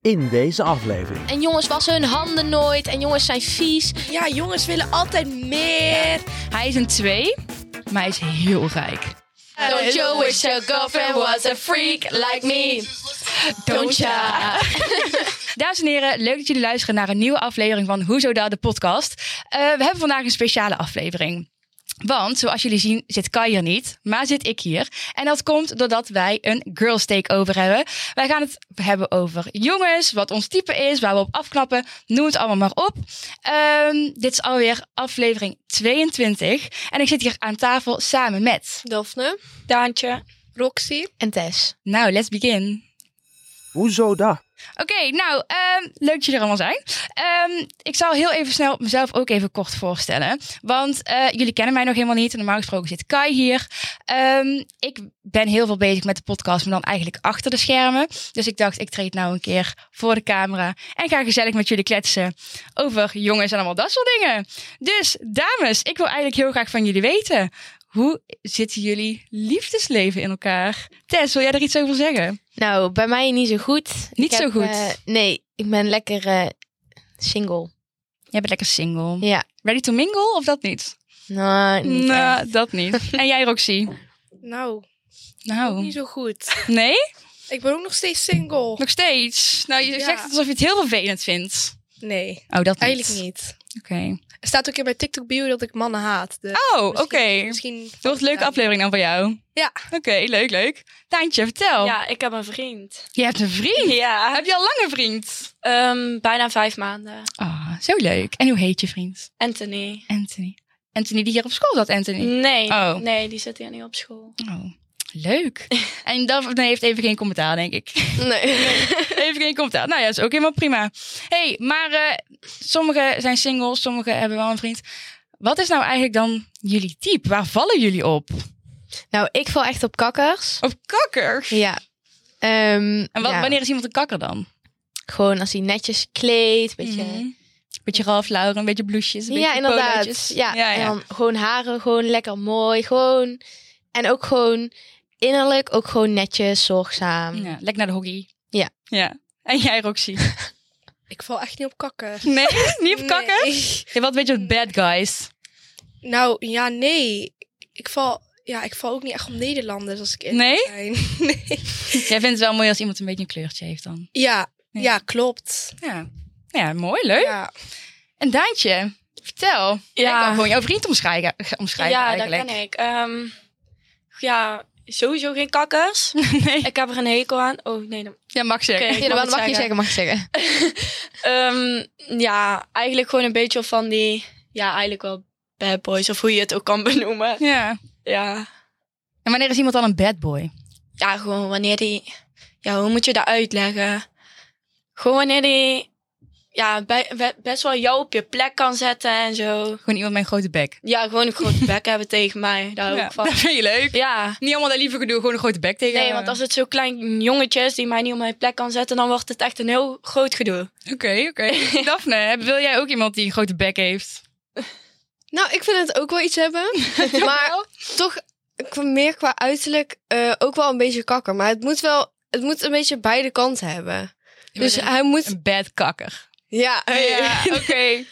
in deze aflevering. En jongens wassen hun handen nooit. En jongens zijn vies. Ja, jongens willen altijd meer. Hij is een twee, maar hij is heel rijk. Don't you wish your girlfriend was a freak like me? Don't ya? Dames en heren, leuk dat jullie luisteren naar een nieuwe aflevering van Hoezo Daar de podcast. Eh, we hebben vandaag een speciale aflevering. Want zoals jullie zien zit Kai hier niet, maar zit ik hier. En dat komt doordat wij een girls takeover hebben. Wij gaan het hebben over jongens, wat ons type is, waar we op afknappen. Noem het allemaal maar op. Ehm, dit is alweer aflevering 22. En ik zit hier aan tafel samen met... Daphne, Daantje. Roxy. En Tess. Nou, let's begin. Hoezo dat? Oké, nou, ehm, leuk dat jullie er allemaal zijn. Ehm, ik zal heel even snel mezelf ook even kort voorstellen. Want eh, jullie kennen mij nog helemaal niet. Normaal gesproken zit Kai hier. Ehm, ik ben heel veel bezig met de podcast, maar dan eigenlijk achter de schermen. Dus ik dacht, ik treed nou een keer voor de camera. En ga gezellig met jullie kletsen over jongens en allemaal dat soort dingen. Dus dames, ik wil eigenlijk heel graag van jullie weten. Hoe zitten jullie liefdesleven in elkaar? Tess, wil jij er iets over zeggen? Nou, bij mij niet zo goed. Niet Ik zo goed. eh, nee, ik ben lekker eh, single. Jij bent lekker single. Ja. Ready to mingle of dat niet? Nou, niet echt. Nou, dat niet. En jij Roxy? Nou, ook Nou, niet zo goed. nee? Ik ben ook nog steeds single. Nog steeds? Nou, je Ja. zegt het alsof je het heel vervelend vindt. Nee, Oh, dat niet. eigenlijk niet. Oké. Er staat ook in mijn TikTok bio dat ik mannen haat. Dus Ah. Oh, oké. misschien- Het Misschien... wordt een leuke aflevering dan van jou. Ja. Oké, leuk, leuk. Taantje, vertel. Oh. Ja, ik heb een vriend. Je hebt een vriend. Ja. Heb je al lang een vriend? Ehm, bijna vijf maanden. Ah, zo leuk. En hoe heet je vriend? Anthony. Anthony. Anthony die hier op school zat, Anthony. Nee, Oh. nee, die zit hier niet op school. Oh, leuk. En Daphne heeft even geen commentaar, denk ik. Nee. Even geen commentaar. Nou ja, is ook helemaal prima. hey, maar eh, sommigen zijn single, sommigen hebben wel een vriend. Wat is nou eigenlijk dan jullie type? Waar vallen jullie op? nou, ik val echt op kakkers. Op kakkers. Ja. Ehm, En wat, ja, wanneer is iemand een kakker dan? Gewoon als hij netjes kleedt, beetje... Mhm. Beetje Ralph Lauren, een beetje blousejes, een ja, beetje inderdaad. polootjes. Ja, ja, En ja. dan gewoon haren, gewoon lekker mooi. Gewoon. En ook gewoon innerlijk, ook gewoon netjes, zorgzaam. Ja, Lekker naar de hockey. Ja. ja. En jij, Roxy? Ik val echt niet op kakken. Nee, niet op Nee. kakken? Je wat weet je wat bad guys. Nou, ja, nee. Ik val... Ja, ik val ook niet echt op Nederlanders als ik eerlijk Nee? zijn. Nee. Jij vindt het wel mooi als iemand een beetje een kleurtje heeft dan. Ja, Nee. ja, klopt. Ja, ja mooi, leuk. Ja. En Daantje, vertel. Jij kan Ja, gewoon jouw vriend omschrijven, omschrijven ja dat eigenlijk. kan ik. Ehm, ja, sowieso geen kakkers. Nee. Ik heb er een hekel aan. Oh, nee. dan- Ja, mag Oké. zeggen. Ja, mag dat het mag je zeggen. zeggen, mag je zeggen. Ehm, ja, eigenlijk gewoon een beetje van die... Ja, eigenlijk wel bad boys, of hoe je het ook kan benoemen. Ja. Ja, En wanneer is iemand dan een bad boy? ja gewoon wanneer die... Ja, hoe moet je dat uitleggen? Gewoon wanneer die... Ja, be- be- best wel jou op je plek kan zetten en zo. Gewoon iemand met een grote bek. Ja, gewoon een grote bek hebben tegen mij. Daar hou ik dat van. vind je leuk. Ja. Niet allemaal dat lieve gedoe, gewoon een grote bek tegen. Nee, want als het zo'n klein jongetje is die mij niet op mijn plek kan zetten, dan wordt het echt een heel groot gedoe. Oké, oké. Daphne, heb- wil jij ook iemand die een grote bek heeft? Nou, ik vind het ook wel iets hebben. maar toch qua- meer qua uiterlijk eh, ook wel een beetje kakker. Maar het moet wel, het moet een beetje beide kanten hebben. Dus een, hij moet, een bad ja. kakker. Ja, oké.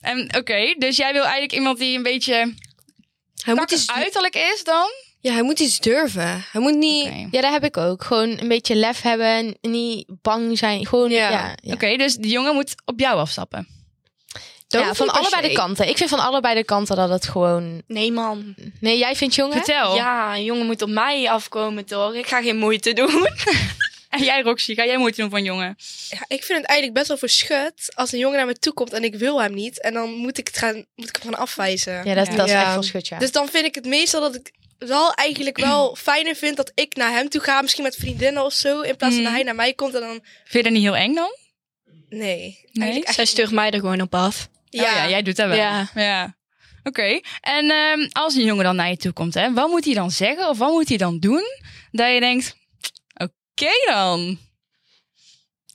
En Oké, dus jij wil eigenlijk iemand die een beetje Hij moet, kakker dus- iets, uiterlijk is dan? ja, hij moet iets durven. Hij moet niet, Oké, Oké, Ja, dat heb ik ook. Gewoon een beetje lef hebben en niet bang zijn. Gewoon, ja. Ja. ja, dus die jongen moet op jou afstappen. Ja, hoeft van niet per allebei se. de kanten. Ik vind van allebei de kanten dat het gewoon... Nee, man. Nee, jij vindt jongen? Oh. Vertel. Ja, een jongen moet op mij afkomen, toch? Ik ga geen moeite doen. En jij, Roxy, ga jij moeite doen van jongen? Ja, ik vind het eigenlijk best wel verschut als een jongen naar me toe komt en ik wil hem niet. En dan moet ik het gaan, moet ik hem gaan afwijzen. Ja, dat, dat is Ja. echt van schut, ja. Dus dan vind ik het meestal dat ik wel eigenlijk wel fijner vind dat ik naar hem toe ga. Misschien met vriendinnen of zo. In plaats Mm. van dat hij naar mij komt en dan... Vind je dat niet heel eng dan? Nee. Nee? Eigenlijk echt Zij stuurt mij er gewoon op af. niet. Oh ja, jij doet dat wel. Ja. Ja. Oké. En ehm, als een jongen dan naar je toe komt, hè, wat moet hij dan zeggen of wat moet hij dan doen dat je denkt, oké dan.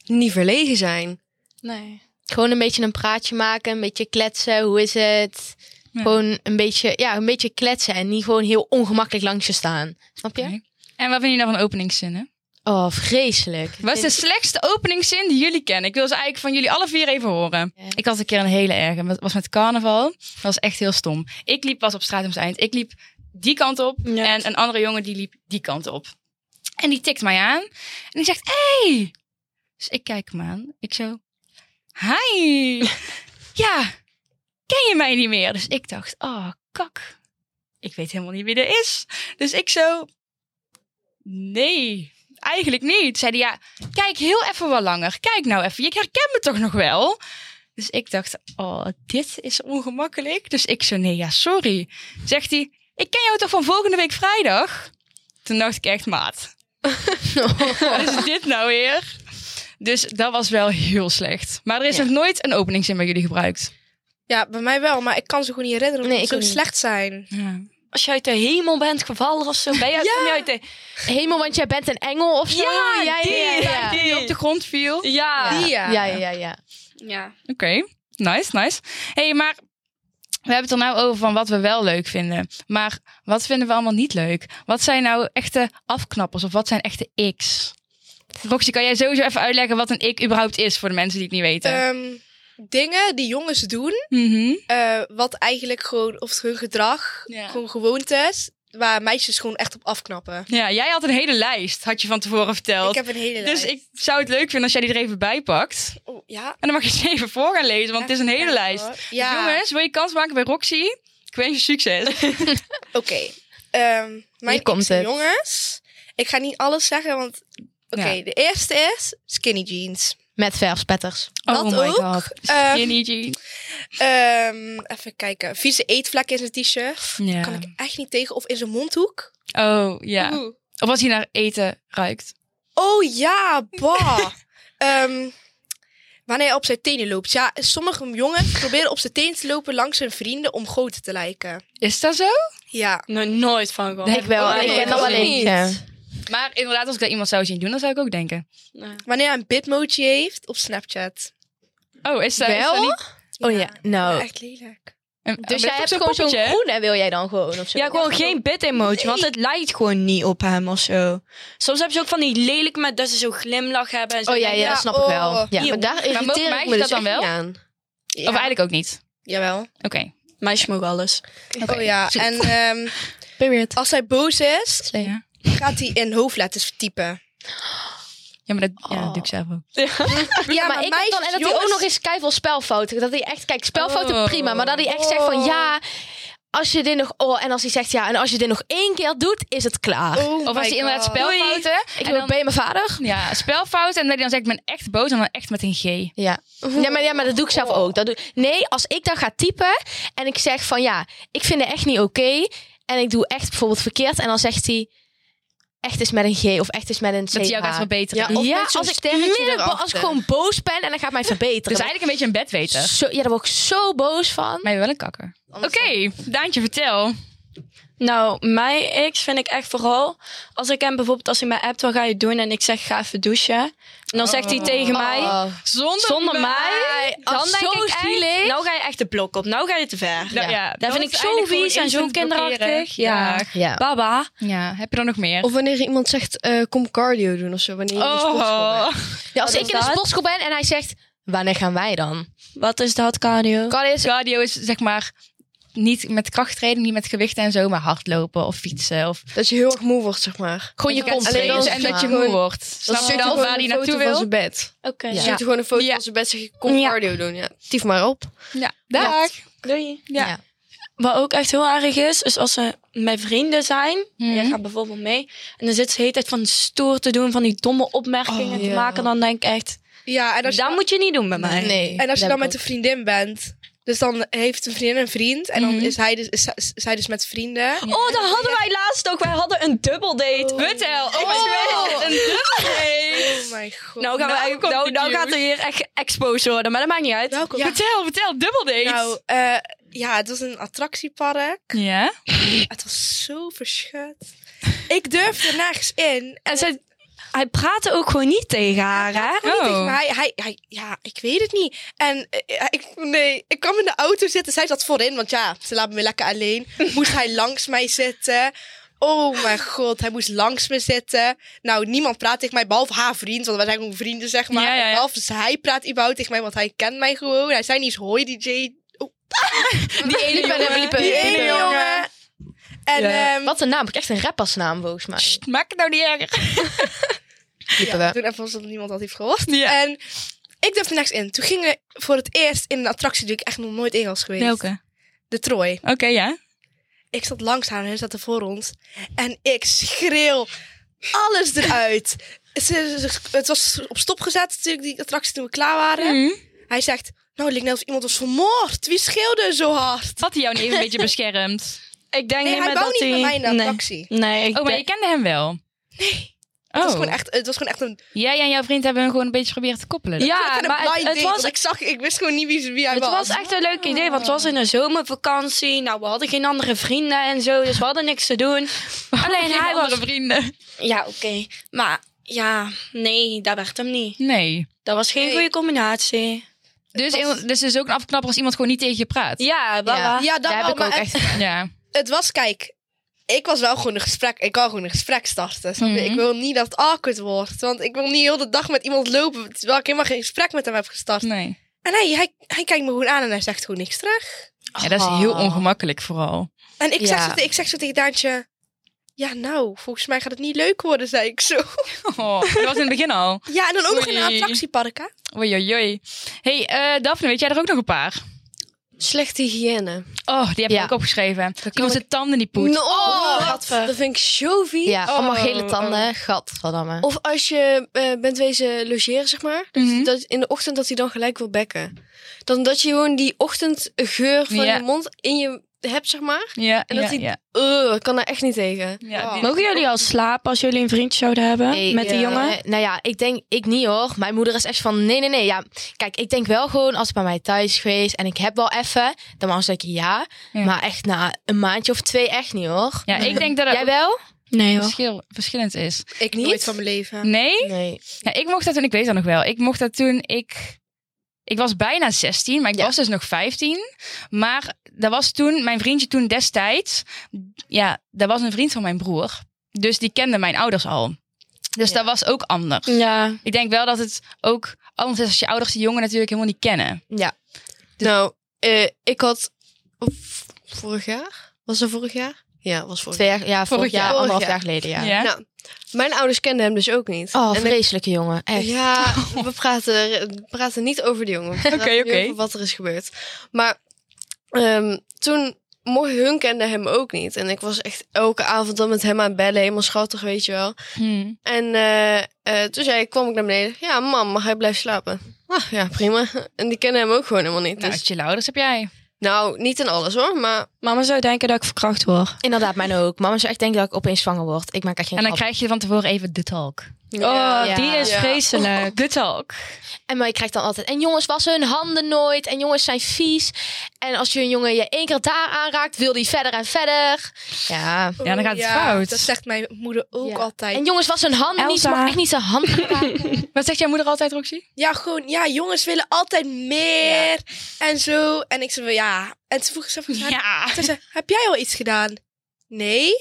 niet verlegen zijn. Nee. Gewoon een beetje een praatje maken, een beetje kletsen. Hoe is het? Ja. Gewoon een beetje, ja, een beetje kletsen en niet gewoon heel ongemakkelijk langs je staan. Snap je? Oké. En wat vind je dan van openingszinnen? Oh, vreselijk. was de slechtste openingszin die jullie kennen. Ik wil ze eigenlijk van jullie alle vier even horen. Ja. Ik had een keer een hele erge. Het was met carnaval. Dat was echt heel stom. Ik liep pas op straat om eind. Ik liep die kant op. Ja. En een andere jongen die liep die kant op. En die tikt mij aan. En die zegt, hey! Dus ik kijk hem aan. Ik zo, hi! ja, ken je mij niet meer? Dus ik dacht, oh, kak. Ik weet helemaal niet wie er is. Dus ik zo, nee, eigenlijk niet. Zei die, ja, kijk heel even wat langer. Kijk nou even, je herkent me toch nog wel? Dus ik dacht, oh, dit is ongemakkelijk. Dus ik zo, nee, ja, sorry. Zegt hij, ik ken jou toch van volgende week vrijdag? Toen dacht ik echt, maat. Wat is dit nou weer? Dus dat was wel heel slecht. Maar er is Ja. nog nooit een openingszin bij jullie gebruikt. Ja, bij mij wel, maar ik kan ze gewoon niet herinneren. Nee, Omdat ik ze ook zo niet. slecht zijn. Ja. Als je uit de hemel bent gevallen of zo, ben je, kom je uit de... Hemel, want jij bent een engel of zo. Ja, ja, ja, ja. Die op de grond viel. Oké, Ja. Die ja. Ja, ja, ja, ja. ja. nice, nice. hey, maar we hebben het er nou over van wat we wel leuk vinden. Maar wat vinden we allemaal niet leuk? Wat zijn nou echte afknappers of wat zijn echte X? Roxy, kan jij sowieso even uitleggen wat een ik überhaupt is voor de mensen die het niet weten? Ehm, dingen die jongens doen, Mhm. eh, wat eigenlijk gewoon, of hun gedrag, Ja. gewoon gewoontes, waar meisjes gewoon echt op afknappen. Ja, jij had een hele lijst, had je van tevoren verteld. Ik heb een hele dus lijst. ik zou het leuk vinden als jij die er even bij pakt. Oh, ja. En dan mag je ze even voor gaan lezen, want het is een hele Even lijst. Dus kijken, hoor. Ja, Jongens, wil je kans maken bij Roxy? Ik wens je succes. oké. Ehm, mijn Hier komt ex en het. jongens. Ik ga niet alles zeggen, want... Oké, Ja. de eerste is skinny jeans. Met verfspetters. Dat ook. Ehm, Oh Skinny jeans. ehm, even kijken. Vieze eetvlekken in zijn t-shirt. Ja. Kan ik echt niet tegen. Of in zijn mondhoek. Oh, ja. Oeh. Of als hij naar eten ruikt. Oh ja, bah. Ehm, wanneer hij op zijn tenen loopt. Ja, sommige jongens proberen op zijn tenen te lopen langs hun vrienden om groter te lijken. Is dat zo? Ja. Nog nooit van gewoon. Ik wel, Oh, ik nee, ken dat wel ook niet. eentje. Maar inderdaad, als ik dat iemand zou zien doen, dan zou ik ook denken. Nee. Wanneer hij een bitmoji heeft op Snapchat. Oh, is dat, is Wel? dat niet... Oh ja, nou. Echt lelijk. een- maar Dus dat jij is hebt ook gewoon zo'n poppetje, hè? groene, wil jij dan gewoon? Of zo? Ja, gewoon geen bit-emoji, want het lijkt gewoon niet op hem of zo. Soms hebben ze ook van die lelijke met dat ze zo'n glimlach hebben. En zo Oh ja, ja, denken, dat snap ik oh, wel. Ja, eeuw. maar daar mogen irriteer ik meisjes me dus dat dan echt wel? niet aan. Ja. Of eigenlijk ook niet. Jawel. Oké. Meisjes mogen alles. Oh ja, en ehm, Period. als hij boos is, Ja. gaat hij in hoofdletters typen. Ja, maar dat ja, dat doe ik zelf ook. Ja, maar, ik heb dan, en dat hij ook nog eens keiveel spelfouten. Dat hij echt, kijk, spelfouten Oh. prima, maar dat hij echt zegt van ja, als je dit nog, oh, en als hij zegt ja, en als je dit nog één keer doet, is het klaar. Oh. Of als hij inderdaad spelfouten... Ik en wil, dan- ben je mijn vader? Ja, spelfouten. En dat hij dan zegt, ik ben echt boos. En dan echt met een G. Dus Ja. Ja, maar, ja, maar dat doe ik zelf ook. Dat doe... Nee, als ik dan ga typen en ik zeg van ja, ik vind het echt niet oké. en ik doe echt bijvoorbeeld verkeerd. En dan zegt hij echt is met een G of echt is met een C. Dat hij jou gaat verbeteren. Ja, of ja, met zo'n als ik, sterretje midden- erachter. als ik gewoon boos ben en dan gaat mij verbeteren. dus eigenlijk een beetje een bedweter. zo, ja, daar word ik zo boos van. Maar je bent wel een kakker. Oké, Daantje, vertel. Nou, mijn ex vind ik echt vooral... Als ik hem bijvoorbeeld, als hij mij appt, wat ga je doen? En ik zeg, ga even douchen. En dan zegt hij Oh. tegen mij, Oh. Zonder, zonder mij... Dan als denk zo ik echt, zielig. nou ga je echt de blok op. Nou ga je te ver. Nou, ja, Dat vind is ik zo eigenlijk gewoon vies en zo instant kinderachtig. blokkeren. Ja. Ja. Baba. Ja, heb je er nog meer? Oh. Of wanneer iemand zegt, eh, kom cardio doen of zo. Wanneer je in de Oh. sportschool bent. Ja, als ik Wat is in de dat? sportschool ben en hij zegt, wanneer gaan wij dan? Wat is dat, cardio? Kan eens... cardio is zeg maar niet met krachttraining, niet met gewichten en zo, maar hardlopen of fietsen. Of Dat je heel erg moe wordt, zeg maar. Gewoon je kont alleen trainen. als- Dus en dat je gewoon- moe wordt. Snap je zit dan gewoon waar een die foto naartoe van wil? zijn bed. Oké. Je Ja. zit gewoon een foto Ja. van zijn bed zeg je, kom Ja. cardio doen. Ja. Tief maar op. Ja, dag. Doei. Ja. Ja. Wat ook echt heel aardig is, is als ze mijn vrienden zijn. Mhm. Jij gaat bijvoorbeeld mee. En dan zit ze de hele tijd van stoer te doen, van die domme opmerkingen Oh, te ja. maken. Dan denk ik echt, Ja, en als je dat moet je niet doen bij mij. Nee. En als je dat dan heb ik met een vriendin bent. Dus dan heeft een vriendin een vriend. En dan Mhm. is, hij dus, is, zij- is zij dus met vrienden. Oh, dat hadden wij laatst ook. Wij hadden een dubbeldate. Vertel. Oh, Oh. een dubbeldate. Oh mijn god. Nou, gaan we Nou eigenlijk- komt nou, het nou nieuws. gaat nou er hier echt exposed worden, maar dat maakt niet uit. Welkom. Ja. Vertel, vertel, dubbeldate. Nou, eh, ja, het was een attractiepark. ja. Het was zo verschut. Ik durfde nergens in. En zij, hij praatte ook gewoon niet tegen haar, hè? Hij kon niet Oh. tegen mij. Hij, hij, ja, ik weet het niet. En eh, ik, nee, ik kwam in de auto zitten. Zij zat voorin, want ja, ze laat me lekker alleen. Moest hij langs mij zitten. Oh mijn god, hij moest langs me zitten. Nou, niemand praat tegen mij, behalve haar vriend. Want wij zijn gewoon vrienden, zeg maar. Ja, ja, ja. Behalve dus hij praat überhaupt tegen mij, want hij kent mij gewoon. Hij zei niet eens hoi, DJ. Die ene jongen. jongen. Liepen, Die ene jongen. En Ja. ehm, Wat een naam. Ik echt een rappersnaam volgens mij. Sst, maak het nou niet erger. Liepen ja, we. toen even alsof niemand dat heeft gehoord. Ja. En ik durfde niks in. Toen gingen we voor het eerst in een attractie die ik echt nog nooit in was geweest. De Troy. Oké, ja. Ik zat langs haar en hij zat er voor ons. En ik schreeuw alles eruit. Ze- ze- het was op stop gezet natuurlijk, die attractie toen we klaar Hmm. waren. Hij zegt, nou, het lijkt net of iemand was vermoord. Wie schreeuwde zo hard? Had hij jou niet even een beetje beschermd? Ik Nee, denk niet hij meer wou dat niet hij... met mij in de nee. attractie. Nee, ik Oh, maar je denk- kende hem wel? Nee. Het, Oh. was gewoon echt, het was gewoon echt een, Jij en jouw vriend hebben hem gewoon een beetje geprobeerd te koppelen. Ja, echt een maar blind het, het date, was want ik, zag, ik wist gewoon niet wie, wie hij Het was echt een leuk idee, want het was in de zomervakantie. Nou, we hadden geen andere vrienden en zo, dus we hadden niks te doen. Alleen hij was... vrienden. Ja, oké. Maar ja, nee, dat werd hem niet. Nee. Dat was geen Nee. goede combinatie. Dus, iemand- dus het is ook een afknapper als iemand gewoon niet tegen je praat. Ja, baba. Ja, dat Daar wel, heb ik maar ook het- echt... Ja. het was, kijk, ik was wel gewoon een gesprek. Ik kan gewoon een gesprek starten. snap je? Mhm. Ik wil niet dat het awkward wordt. Want ik wil niet heel de dag met iemand lopen terwijl ik helemaal geen gesprek met hem heb gestart. Nee. En hij, hij, hij kijkt me gewoon aan en hij zegt gewoon niks terug. Ja, dat is heel Oh. Ah. ongemakkelijk vooral. En ik, zeg, Ja. zo, te- ik zeg zo tegen Daantje. Ja, nou, volgens mij gaat het niet leuk worden, zei ik zo. Oh, dat was in het begin al. Ja, en dan ook nog in een Oei. attractiepark, hè? Oei, oei, oei. hey, eh Daphne, weet jij er ook nog een paar? Slechte hygiëne. Oh, die heb ik Ja. ook opgeschreven. kan Iemand zijn tanden niet poetst. No, Oh, wat ver. dat vind ik zo vies. Ja, allemaal Oh. gele tanden. Oh, Gadverdamme. Of als je eh, bent wezen logeren, zeg maar. Dus Hm? Mhm. dat in de ochtend dat hij dan gelijk wil bekken. Dan dat je gewoon die ochtendgeur van Ja. je mond in je hebt, zeg maar. Ja, En dat ja, hij- ja. Eh, ik kan daar echt niet tegen. Ja, die- Mogen jullie al slapen als jullie een vriendje zouden hebben Nee, met die ja. jongen? Eh, nou ja, ik denk, ik niet hoor. Mijn moeder is echt van, nee, nee, nee. Ja, kijk, ik denk wel gewoon als ik bij mij thuis geweest en ik heb wel even, dan was ik ja. Ja. Maar echt na een maandje of twee echt niet hoor. Ja, ik denk dat dat Jij wel? Nee hoor. verschil, verschillend is. Ik Niet? Hm. nooit van mijn leven. Nee? Nee. Ja, ik mocht dat toen, ik weet dat nog wel. Ik mocht dat toen ik. Ik was bijna 16, maar ik Ja. was dus nog 15. Maar dat was toen, mijn vriendje toen destijds. Ja, dat was een vriend van mijn broer. Dus die kende mijn ouders al. Dus Ja. dat was ook anders. Ja, Ik denk wel dat het ook anders is als je ouders die jongen natuurlijk helemaal niet kennen. Ja. Nou, eh, ik had v- vorig jaar. Was dat vorig jaar? Ja, was vorig Twee jaar, ja, vorig, Vorig jaar, jaar. anderhalf Vorig jaar geleden, ja. Ja. Nou, mijn ouders kenden hem dus ook niet. Oh, En ik- vreselijke jongen. Echt. Ja, we praten, we praten niet over de jongen. We praten Oké, nu oké. over wat er is gebeurd. Maar ehm, toen, mocht hun kende hem ook niet. En ik was echt elke avond dan met hem aan het bellen. Helemaal schattig, weet je wel. Hm. nou, En eh, eh, toen zei ik, kwam ik naar beneden. Ja, mam, mag hij blijven slapen? Ah, ja, prima. En die kennen hem ook gewoon helemaal niet. Nou, dus, je ouders heb jij. nou, niet in alles hoor, maar... mama zou denken dat ik verkracht word. Inderdaad, mijn ook. Mama zou echt denken dat ik opeens zwanger word. Ik maak echt geen En dan grap. krijg je van tevoren even de talk. Oh, Ja. die is Ja. vreselijk. De talk. En maar je krijgt dan altijd. En jongens wassen hun handen nooit. En jongens zijn vies. En als je een jongen je één keer daar aanraakt, wil die verder en verder. Ja. Ja, dan gaat het Oh, fout. Dat zegt mijn moeder ook Ja. altijd. En jongens wassen hun handen niet. Ze Elsa. mag echt niet zijn handen aanraken. Wat zegt jouw moeder altijd, Roxy? Ja, gewoon, ja, jongens willen altijd meer en zo. En ik zei, wel, ja. En toen vroeg ik ze van, Ja. Ze zei, heb jij al iets gedaan? Nee.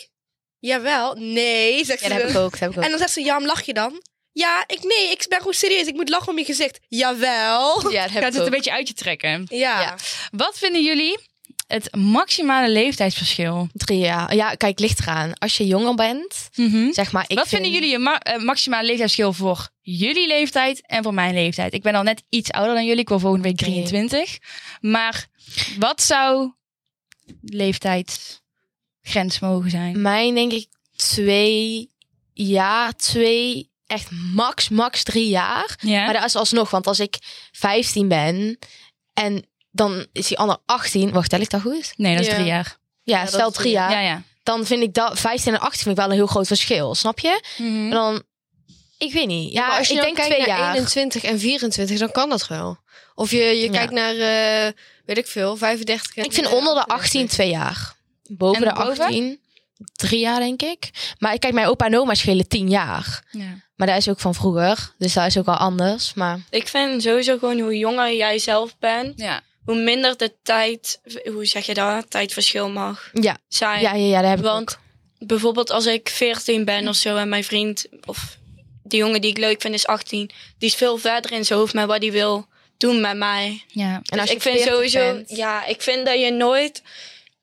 Jawel. Nee, zegt Ja, ze. dat heb ik dan. ook. Dat heb ik ook. En dan zegt ze, ja, maar lach je dan? Ja, ik, nee, ik ben gewoon serieus. Ik moet lachen om je gezicht. Jawel. ja, dat heb ik Gaat het een ook. beetje uit je trekken. Ja. Ja. Wat vinden jullie het maximale leeftijdsverschil? Drie jaar. Ja, kijk, ligt eraan. Als je jonger bent, zeg maar. Ik Wat vind- vinden jullie je ma- eh, maximale leeftijdsverschil voor jullie leeftijd en voor mijn leeftijd? Ik ben al net iets ouder dan jullie. Ik word volgende week 23. Maar wat zou leeftijdsgrens mogen zijn? Mijn, denk ik, twee jaar, twee, echt max, max drie jaar. Ja. Maar dat is alsnog, want als ik 15 ben en dan is die ander 18. Wacht, tel ik dat goed? Nee, dat is Ja. drie jaar. Ja, dat stel is drie drie jaar. Ja, ja. Dan vind ik dat 15 en 18 vind ik wel een heel groot verschil, snap je? Mhm. Hm. En Dan, ik weet niet. Ja, Maar als je ik dan denk kijkt twee naar jaar. 21 en 24, dan kan dat wel. Of je, je Ja. kijkt naar, eh, weet ik veel, 35. en, Ik vind eh, onder de 18 38. twee jaar. Boven En de boven? 18 drie jaar, denk ik. Maar ik kijk, mijn opa en oma schelen tien jaar. Ja. Maar dat is ook van vroeger. Dus dat is ook wel anders. Maar Ik vind sowieso gewoon hoe jonger jij zelf bent, Ja. hoe minder de tijd, hoe zeg je dat, tijdverschil mag ja, zijn. ja, ja, ja dat heb ik Want ook. bijvoorbeeld als ik 14 ben of zo en mijn vriend of die jongen die ik leuk vind is 18, die is veel verder in zijn hoofd met wat hij wil doen met mij. Ja. En Nou, als Dus je ik vind 40 sowieso, bent- ja, ik vind dat je nooit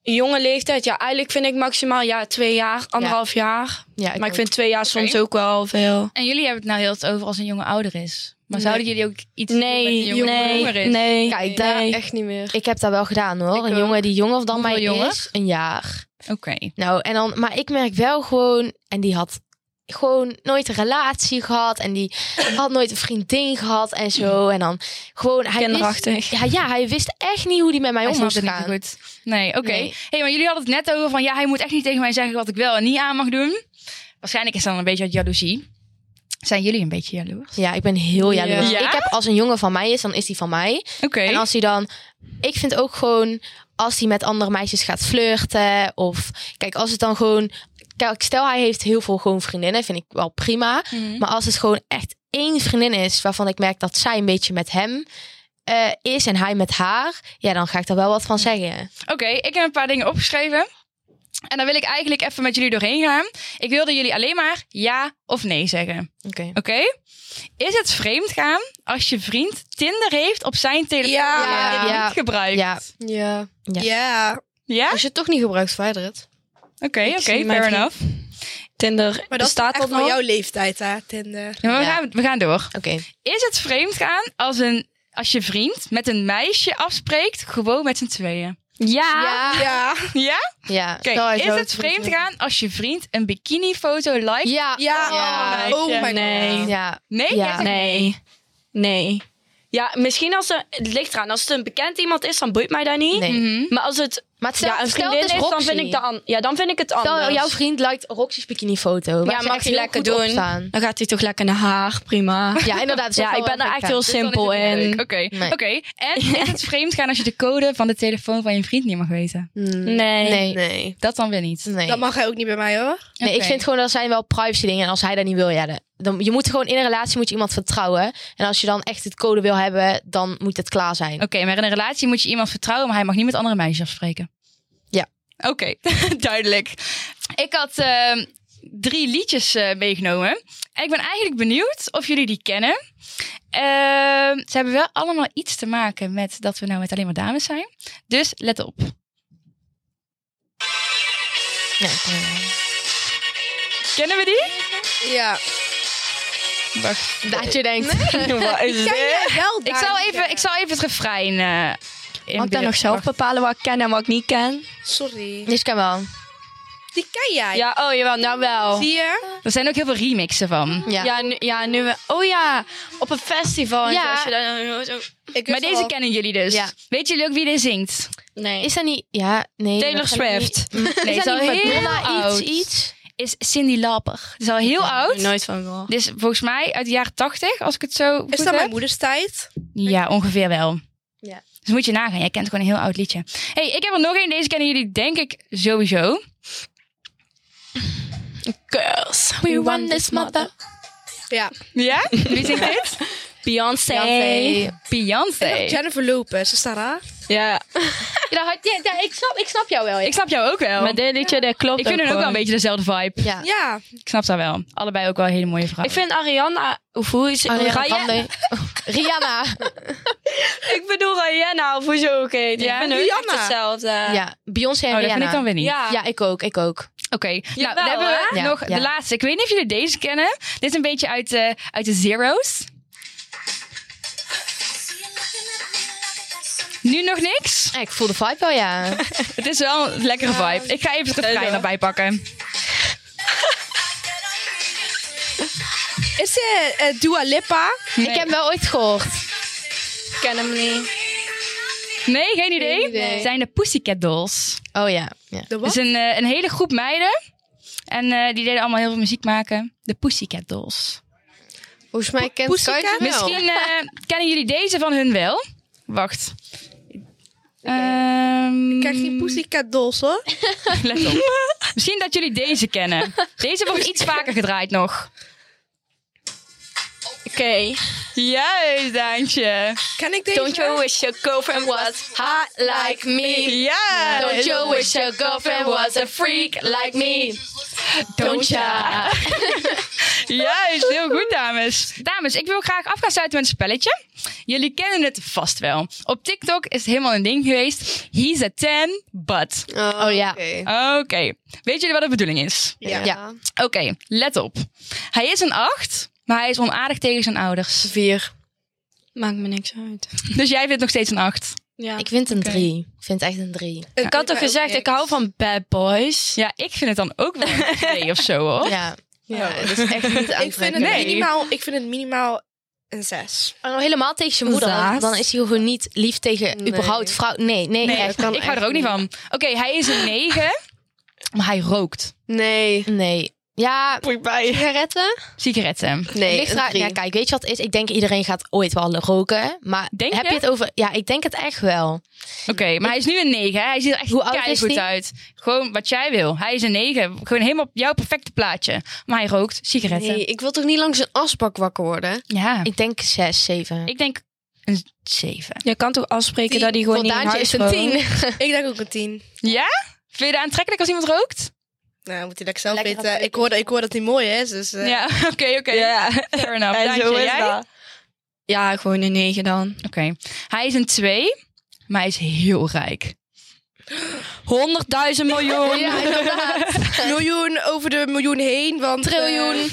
een jonge leeftijd, ja, eigenlijk vind ik maximaal ja, twee jaar, anderhalf jaar. Ja, maar ik ook. vind twee jaar soms Oké. ook wel veel. En jullie hebben het nou heel het over als een jonge ouder is. Maar zouden jullie ook iets doen met Nee, een jonge nee, ouder nee, is? Kijk, daar, nee. Echt niet meer. ik heb dat wel gedaan hoor. Ik een ook. jongen die jonger dan Hoeveel mij jonger? is, een jaar. Oké. Nou, en dan, maar ik merk wel gewoon, en die had gewoon nooit een relatie gehad en die had nooit een vriendin gehad en zo. En dan gewoon, hij Kinderachtig. Wist, ja, ja, hij wist echt niet hoe hij met mij Hij om snapt moest het niet zo gaan. goed. Nee, oké. Nee. hey, maar jullie hadden het net over van... ja, hij moet echt niet tegen mij zeggen wat ik wel en niet aan mag doen. Waarschijnlijk is dat dan een beetje uit jaloezie. Zijn jullie een beetje jaloers? Ja, ik ben heel Ja. jaloers. Ja? Ik heb als een jongen van mij is, dan is die van mij. Oké. En als hij dan... Ik vind ook gewoon... Als hij met andere meisjes gaat flirten... Of... Kijk, als het dan gewoon... Kijk, stel hij heeft heel veel gewoon vriendinnen. Vind ik wel prima. Mhm. Mm-hmm. Maar als het gewoon echt één vriendin is... Waarvan ik merk dat zij een beetje met hem eh, is... En hij met haar... Ja, dan ga ik daar wel wat van zeggen. Oké, ik heb een paar dingen opgeschreven. En dan wil ik eigenlijk even met jullie doorheen gaan. Ik wil dat jullie alleen maar ja of nee zeggen. Oké. Oké? Is het vreemd gaan als je vriend Tinder heeft op zijn telefoon? Ja. maar Ja. die Ja. niet gebruikt. Ja. Ja. Ja. Ja. Ja? Als je het toch niet gebruikt, verwijder het. Oké, oké, zie mijn fair vriend. enough. Tinder Maar dat bestaat is dat echt van nog? jouw leeftijd, hè, Tinder. Ja, maar we, Ja. gaan, we gaan door. Oké. Is het vreemd gaan als, een, als je vriend met een meisje afspreekt, gewoon met z'n tweeën? Ja. Ja. Ja. Ja? Ja. Oké, Nou, hij is zou het het goed vreemd doen. gaan als je vriend een bikinifoto liked? Ja. Ja. Ja. Oh my god. Nee. Ja. Ja. Nee? Jij zegt Ah, Nee. Nee. Ja, misschien als er, het ligt eraan. Als het een bekend iemand is, dan boeit mij dat niet. Nee. Mhm. Maar als het Maar het stel, Mm-hmm. ja, een stel vriendin het is, is dan Roxy. vind ik, de an- ja, dan vind ik het anders. Stel, jouw vriend liked Roxy's bikinifoto. Waar Ja, ze mag echt hij heel lekker goed op doen. staan. Dan gaat hij toch lekker naar haar, prima. Ja, inderdaad. dat is Ja, ook ik wel ben daar een echt heel effect. Dus dan is het simpel niet leuk. in. Oké, Nee. oké. En is het vreemd gaan als je de code van de telefoon van je vriend niet mag weten? Nee. Nee. Nee. Dat dan weer niet. Nee. Dat mag hij ook niet bij mij, hoor. nee, ik Oké. vind gewoon, dat zijn wel privacy dingen. En als hij dat niet wil, ja, dan- dan, je moet gewoon in een relatie moet je iemand vertrouwen. En als je dan echt het code wil hebben, dan moet het klaar zijn. Oké, maar in een relatie moet je iemand vertrouwen, maar hij mag niet met andere meisjes afspreken. Ja. Oké, duidelijk. Ik had eh, drie liedjes eh, meegenomen. En ik ben eigenlijk benieuwd of jullie die kennen. Eh, ze hebben wel allemaal iets te maken met dat we nou met alleen maar dames zijn. Dus let op. Ja, ik denk wel. Kennen we die? Ja. Wacht. dat je denkt. Wat Ken is dit? jij wel Ik daar zal, niet even, kennen? ik zal even het refrein eh Mag ik dan nog zelf bepalen wat ik ken en wat ik niet ken? Sorry. Dus kan wel. Die ken jij. Ja, oh jawel, nou wel. Zie je? Er zijn ook heel veel remixen van. Ja. Ja, nu, ja, nu we- Oh ja, op een festival. en Ja. zo, als je dat- zo- Ik Maar wist deze al. kennen jullie dus. Ja. Weet jullie ook wie dit zingt? Nee. Is dat niet... Ja, nee. Taylor dat kan ik Swift. Mm. niet. is is al dat niet heel Madonna oud. iets, iets? Is Cindy Lauper. Het is al heel oud. Nooit van gehoord. Dit is volgens mij uit de jaren 80, als ik het zo goed Is dat heb. mijn moeders tijd? Ja, ongeveer wel. Ja. Dus moet je nagaan. Jij kent gewoon een heel oud liedje. hey, ik heb er nog één. Deze kennen jullie denk ik sowieso. Girls, We want this mother. Ja. Ja? Wie zingt dit? Beyoncé. Beyoncé. Beyoncé. Jennifer Lopez, is dat haar? Ja, Ja, dat had- ja, ja, ik, snap, ik snap jou wel. ja. Ik snap jou ook wel. maar dit liedje, dat klopt ik vind ook hun ook wel een gewoon. beetje dezelfde vibe. Ja. Ja. Ik snap dat wel. Allebei ook wel hele mooie vrouwen. Ik vind Ariana... Of hoe is Ariana Raya- Grande. Oh, Rihanna. Ik bedoel Rihanna, of hoe ze ook heet. Ja, Ja, ik ben ook echt Rihanna. hetzelfde. Ja, Beyoncé en Oh, dat Rihanna. vind ik dan weer niet. Ja. Ja, ik ook, ik ook. Oké, nou, Jawel, dan hebben we hè? Ja, nog ja. de laatste. Ik weet niet of jullie deze kennen. Dit is een beetje uit, eh, uit de Zero's. Nu nog niks. Ja, ik voel de vibe wel, ja. Het is wel een lekkere vibe. Ik ga even het refrein erbij pakken. Is dit eh Dua Lipa? Nee. Ik heb hem wel ooit gehoord. Ik ken hem niet. Nee, geen idee. Het zijn de Pussycat Dolls. Oh ja. ja. De Het wat? is een, eh, een hele groep meiden. En eh, die deden allemaal heel veel muziek maken. De Pussycat Dolls. Volgens mij kent Pussycat? Sky het wel. Misschien Nou. eh, kennen jullie deze van hun wel. Wacht. Ehm, Ik krijg geen Pussycat Dolls, hoor. Let op. Misschien dat jullie deze kennen. Deze wordt iets vaker gedraaid nog. Ik Juist, Daantje. Ken ik deze? Don't you wish your girlfriend was hot like me? Ja. Don't you wish your girlfriend was a freak like me? Don't ya? Juist, heel goed, dames. Dames, ik wil graag af gaan sluiten met een spelletje. Jullie kennen het vast wel. Op TikTok is het helemaal een ding geweest. He's a 10, but. Oh ja. Oké. Oké. Weet jullie wat de bedoeling is? Ja. Ja. Oké, let op. Hij is een 8, maar hij is onaardig tegen zijn ouders. Vier. Maakt me niks uit. Dus jij vindt nog steeds een 8. Ja. Ik vind een Oké. drie. Ik vind echt een drie. Ik had toch gezegd, ik hou van bad boys. Ja, ik vind het dan ook wel een 2 of zo, hoor. Ja. Ja. Oh, dat is echt niet Ik vind, het aantrekkelijk. Nee. minimaal, ik vind het minimaal een zes. En al helemaal tegen zijn moeder. Zaad. want Dan is hij gewoon niet lief tegen Nee. überhaupt vrouw. Nee, nee, Nee, echt. ik hou er ook niet van. Oké, hij is een 9, maar hij rookt. Nee. Nee. Ja, sigaretten? Sigaretten. Nee. Ligt een eraan- drie. ja, kijk, weet je wat het is? Ik denk iedereen gaat ooit wel roken. Maar Denk heb je? je? het over... Ja, ik denk het echt wel. Oké, maar hij is nu een 9. Hij ziet er echt Hoe oud is goed die? uit. Gewoon wat jij wil. Hij is een 9. Gewoon helemaal jouw perfecte plaatje. Maar hij rookt sigaretten. Nee, ik wil toch niet langs een asbak wakker worden? Ja. Ik, Ik denk zes, zeven. ik denk een 7. Je kan toch afspreken dat hij gewoon Voor niet in Daantje huis is een woont? tien. Ik denk ook een tien. Ja? Vind je dat aantrekkelijk als iemand rookt? Nou, moet hij lekker zelf Lekker weten. aantrekkelijk. Ik hoor, dat- ik hoor dat hij mooi is, dus... eh, Ja, oké, oké. Fair enough. En Daantje, zo is jij? dat. Ja, gewoon een 9 dan. Oké. Hij is een 2, maar hij is heel rijk. 100.000 miljoen. Ja, inderdaad. Miljoen over de miljoen heen, want... Triljoen. eh,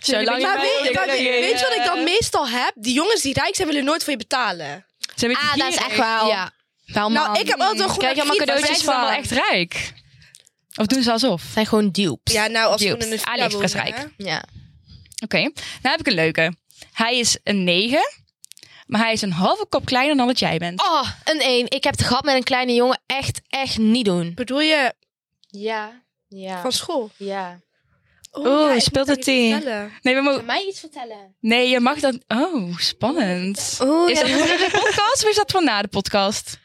Zolang je maar bij weet, ons maar denkt, weet, eh, weet je wat ik dan meestal heb? Die jongens die rijk zijn, willen nooit voor je betalen. Ze hebben Ah, het dat is hier- echt wel. Ja. Wel, Nou, ik heb altijd wel goed Krijg je allemaal Zijn cadeautjes ze dan wel van. echt rijk? Of doen ze alsof? Het zijn gewoon dupes. Ja, nou, als we Dupes. in een villa AliExpress wonen, rijk. hè? Ja. Oké, nou heb ik een leuke. Hij is een 9, maar hij is een halve kop kleiner dan wat jij bent. Oh, een één. Ik heb het gehad met een kleine jongen. Echt, echt niet doen. Bedoel je Ja. Ja. van school? Ja. Oh, Oeh, ik moet speelt dat het even tien. vertellen. Nee, we mogen- mij iets vertellen? nee, je mag dat. Oh, spannend. Oh, Is dat voor de podcast of is dat voor na de podcast?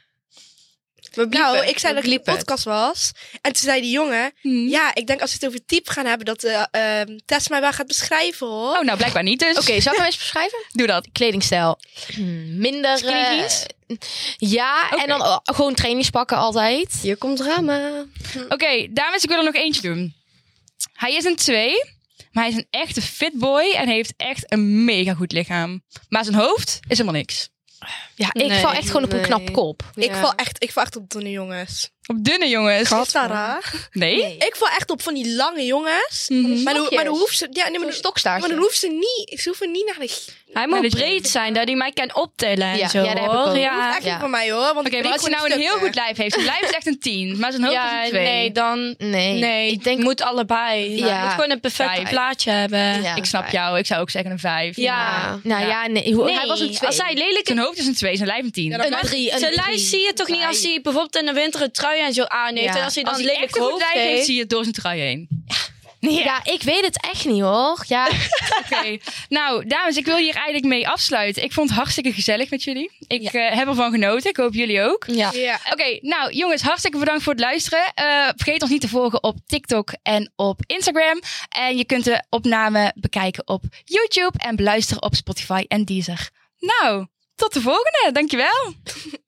Nou, ik zei dat ik in de podcast was. En toen zei die jongen... Hm. Ja, ik denk als we het over type gaan hebben... dat eh ehm, Tess mij wel gaat beschrijven, hoor. Oh, nou blijkbaar niet dus. Oké, zal ik hem eens beschrijven? Doe dat. Kledingstijl. Minder... Skinny eh, jeans? ja, Oké. en dan oh, gewoon trainingspakken altijd. Hier komt drama. Oké, dames, ik wil er nog eentje doen. Hij is een 2, maar hij is een echte fitboy en heeft echt een mega goed lichaam. Maar zijn hoofd is helemaal niks. Ja, ik Nee, val echt gewoon op een nee. knap kop. Ik, val echt, ik val echt op dunne jongens. Op dunne jongens. Is dat raar? Nee? Ik val echt op van die lange jongens. Mhm. Maar, dan, maar dan Stokjes. hoeft ze... Ja, nee, maar, Een dan- stokstaartje. maar dan hoeft ze niet... Ze hoeven niet naar de... Ze Maar Hij moet dat je- breed zijn, dat hij mij kan optillen en Ja, zo. ja, dat heb ik hoor. ook. Ja. hoeft echt Ja. niet van mij, hoor. Want Oké, ik breek maar als hij gewoon nou een in heel stukken. goed lijf heeft, zijn lijf is echt een 10, maar zijn hoofd Ja, is een 2. nee, dan... Nee. Nee, Ik denk... moet allebei. Ja. Je moet gewoon een perfect Vijf. plaatje hebben. Ja. ik snap jou, ik zou ook zeggen een 5. Ja. Nou ja, nee. hoe- Nee, Hij was een twee. als hij lelijk Zijn hoofd is een 2, zijn lijf een 10. Ja, Een drie. Een Zijn drie. lijf zie je toch niet als hij bijvoorbeeld in de winter een trui en zo aan heeft. Ja. En als hij dan Als hij een echt lelijk een goed hoofd lijf heeft. heeft, zie je het door zijn trui heen. Ja. ik weet het echt niet hoor. Ja, Oké. nou, dames, ik wil hier eigenlijk mee afsluiten. Ik vond het hartstikke gezellig met jullie. Ik eh, heb ervan genoten. Ik hoop jullie ook. Ja. Ja. Oké, nou jongens, hartstikke bedankt voor het luisteren. Eh, vergeet ons niet te volgen op TikTok en op Instagram. En je kunt de opname bekijken op YouTube en beluisteren op Spotify en Deezer. Nou, tot de volgende. Dankjewel.